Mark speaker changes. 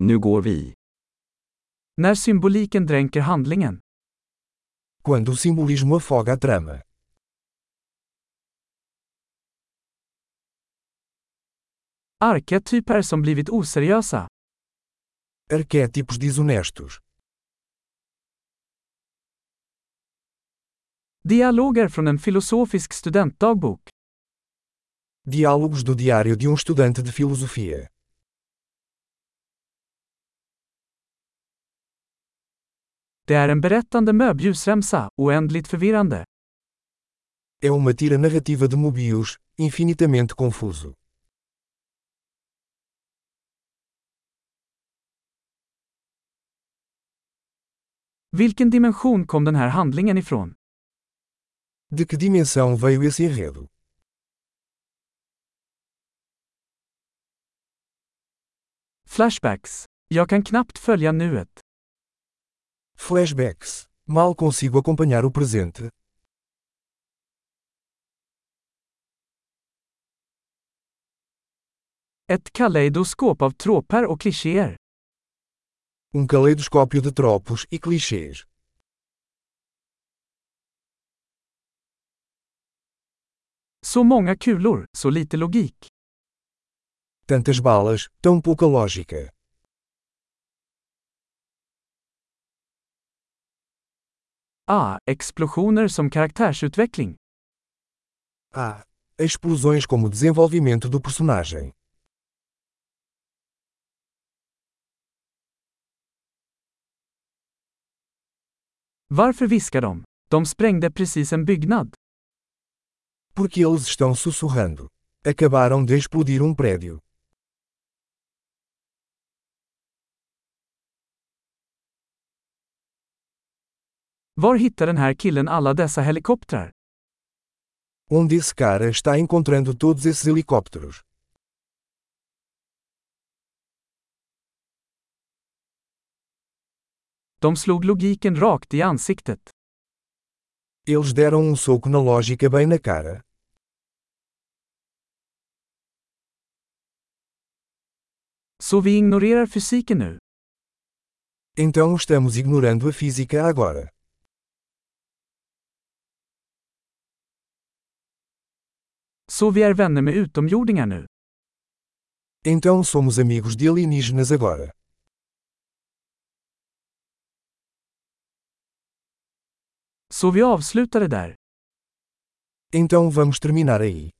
Speaker 1: Nu går vi.
Speaker 2: När symboliken dränker handlingen.
Speaker 3: Quando o simbolismo afoga a trama.
Speaker 2: Arketyper som blivit oseriösa.
Speaker 3: Arquétipos desonestos.
Speaker 2: Dialoger från en filosofisk studentdagbok.
Speaker 3: Diálogos do diário de um estudante de filosofia.
Speaker 2: Det är en berättande möbljusremsa, oändligt förvirrande.
Speaker 3: É uma tira narrativa de Mobius, infinitamente confuso.
Speaker 2: Vilken dimension kom den här handlingen ifrån?
Speaker 3: De que dimensão veio esse enredo?
Speaker 2: Flashbacks. Jag kan knappt följa nuet.
Speaker 3: Flashbacks. Mal consigo acompanhar o presente.
Speaker 2: Ett kaleidoskop av tråper och klichéer.
Speaker 3: Um caleidoscópio de tropos e clichês.
Speaker 2: Så många kulor, så lite logik.
Speaker 3: Tantas balas, tão pouca lógica.
Speaker 2: Ah, explosioner som karaktärsutveckling.
Speaker 3: Ah! Explosões como desenvolvimento do personagem.
Speaker 2: Varför viskar de? De sprängde precis en byggnad.
Speaker 3: Porque eles estão sussurrando. Acabaram de explodir um prédio.
Speaker 2: Var hittar den här killen alla dessa helikoptrar?
Speaker 3: Onde esse cara está encontrando todos esses helicópteros?
Speaker 2: De slog logiken rakt i ansiktet.
Speaker 3: Eles deram um soco na lógica bem na cara.
Speaker 2: Så vi ignorerar fysiken nu.
Speaker 3: Então estamos ignorando a física agora.
Speaker 2: Så vi är vänner med utomjordingar nu.
Speaker 3: Então somos amigos de alienígenas agora.
Speaker 2: Så vi avslutar det där.
Speaker 3: Então vamos terminar aí.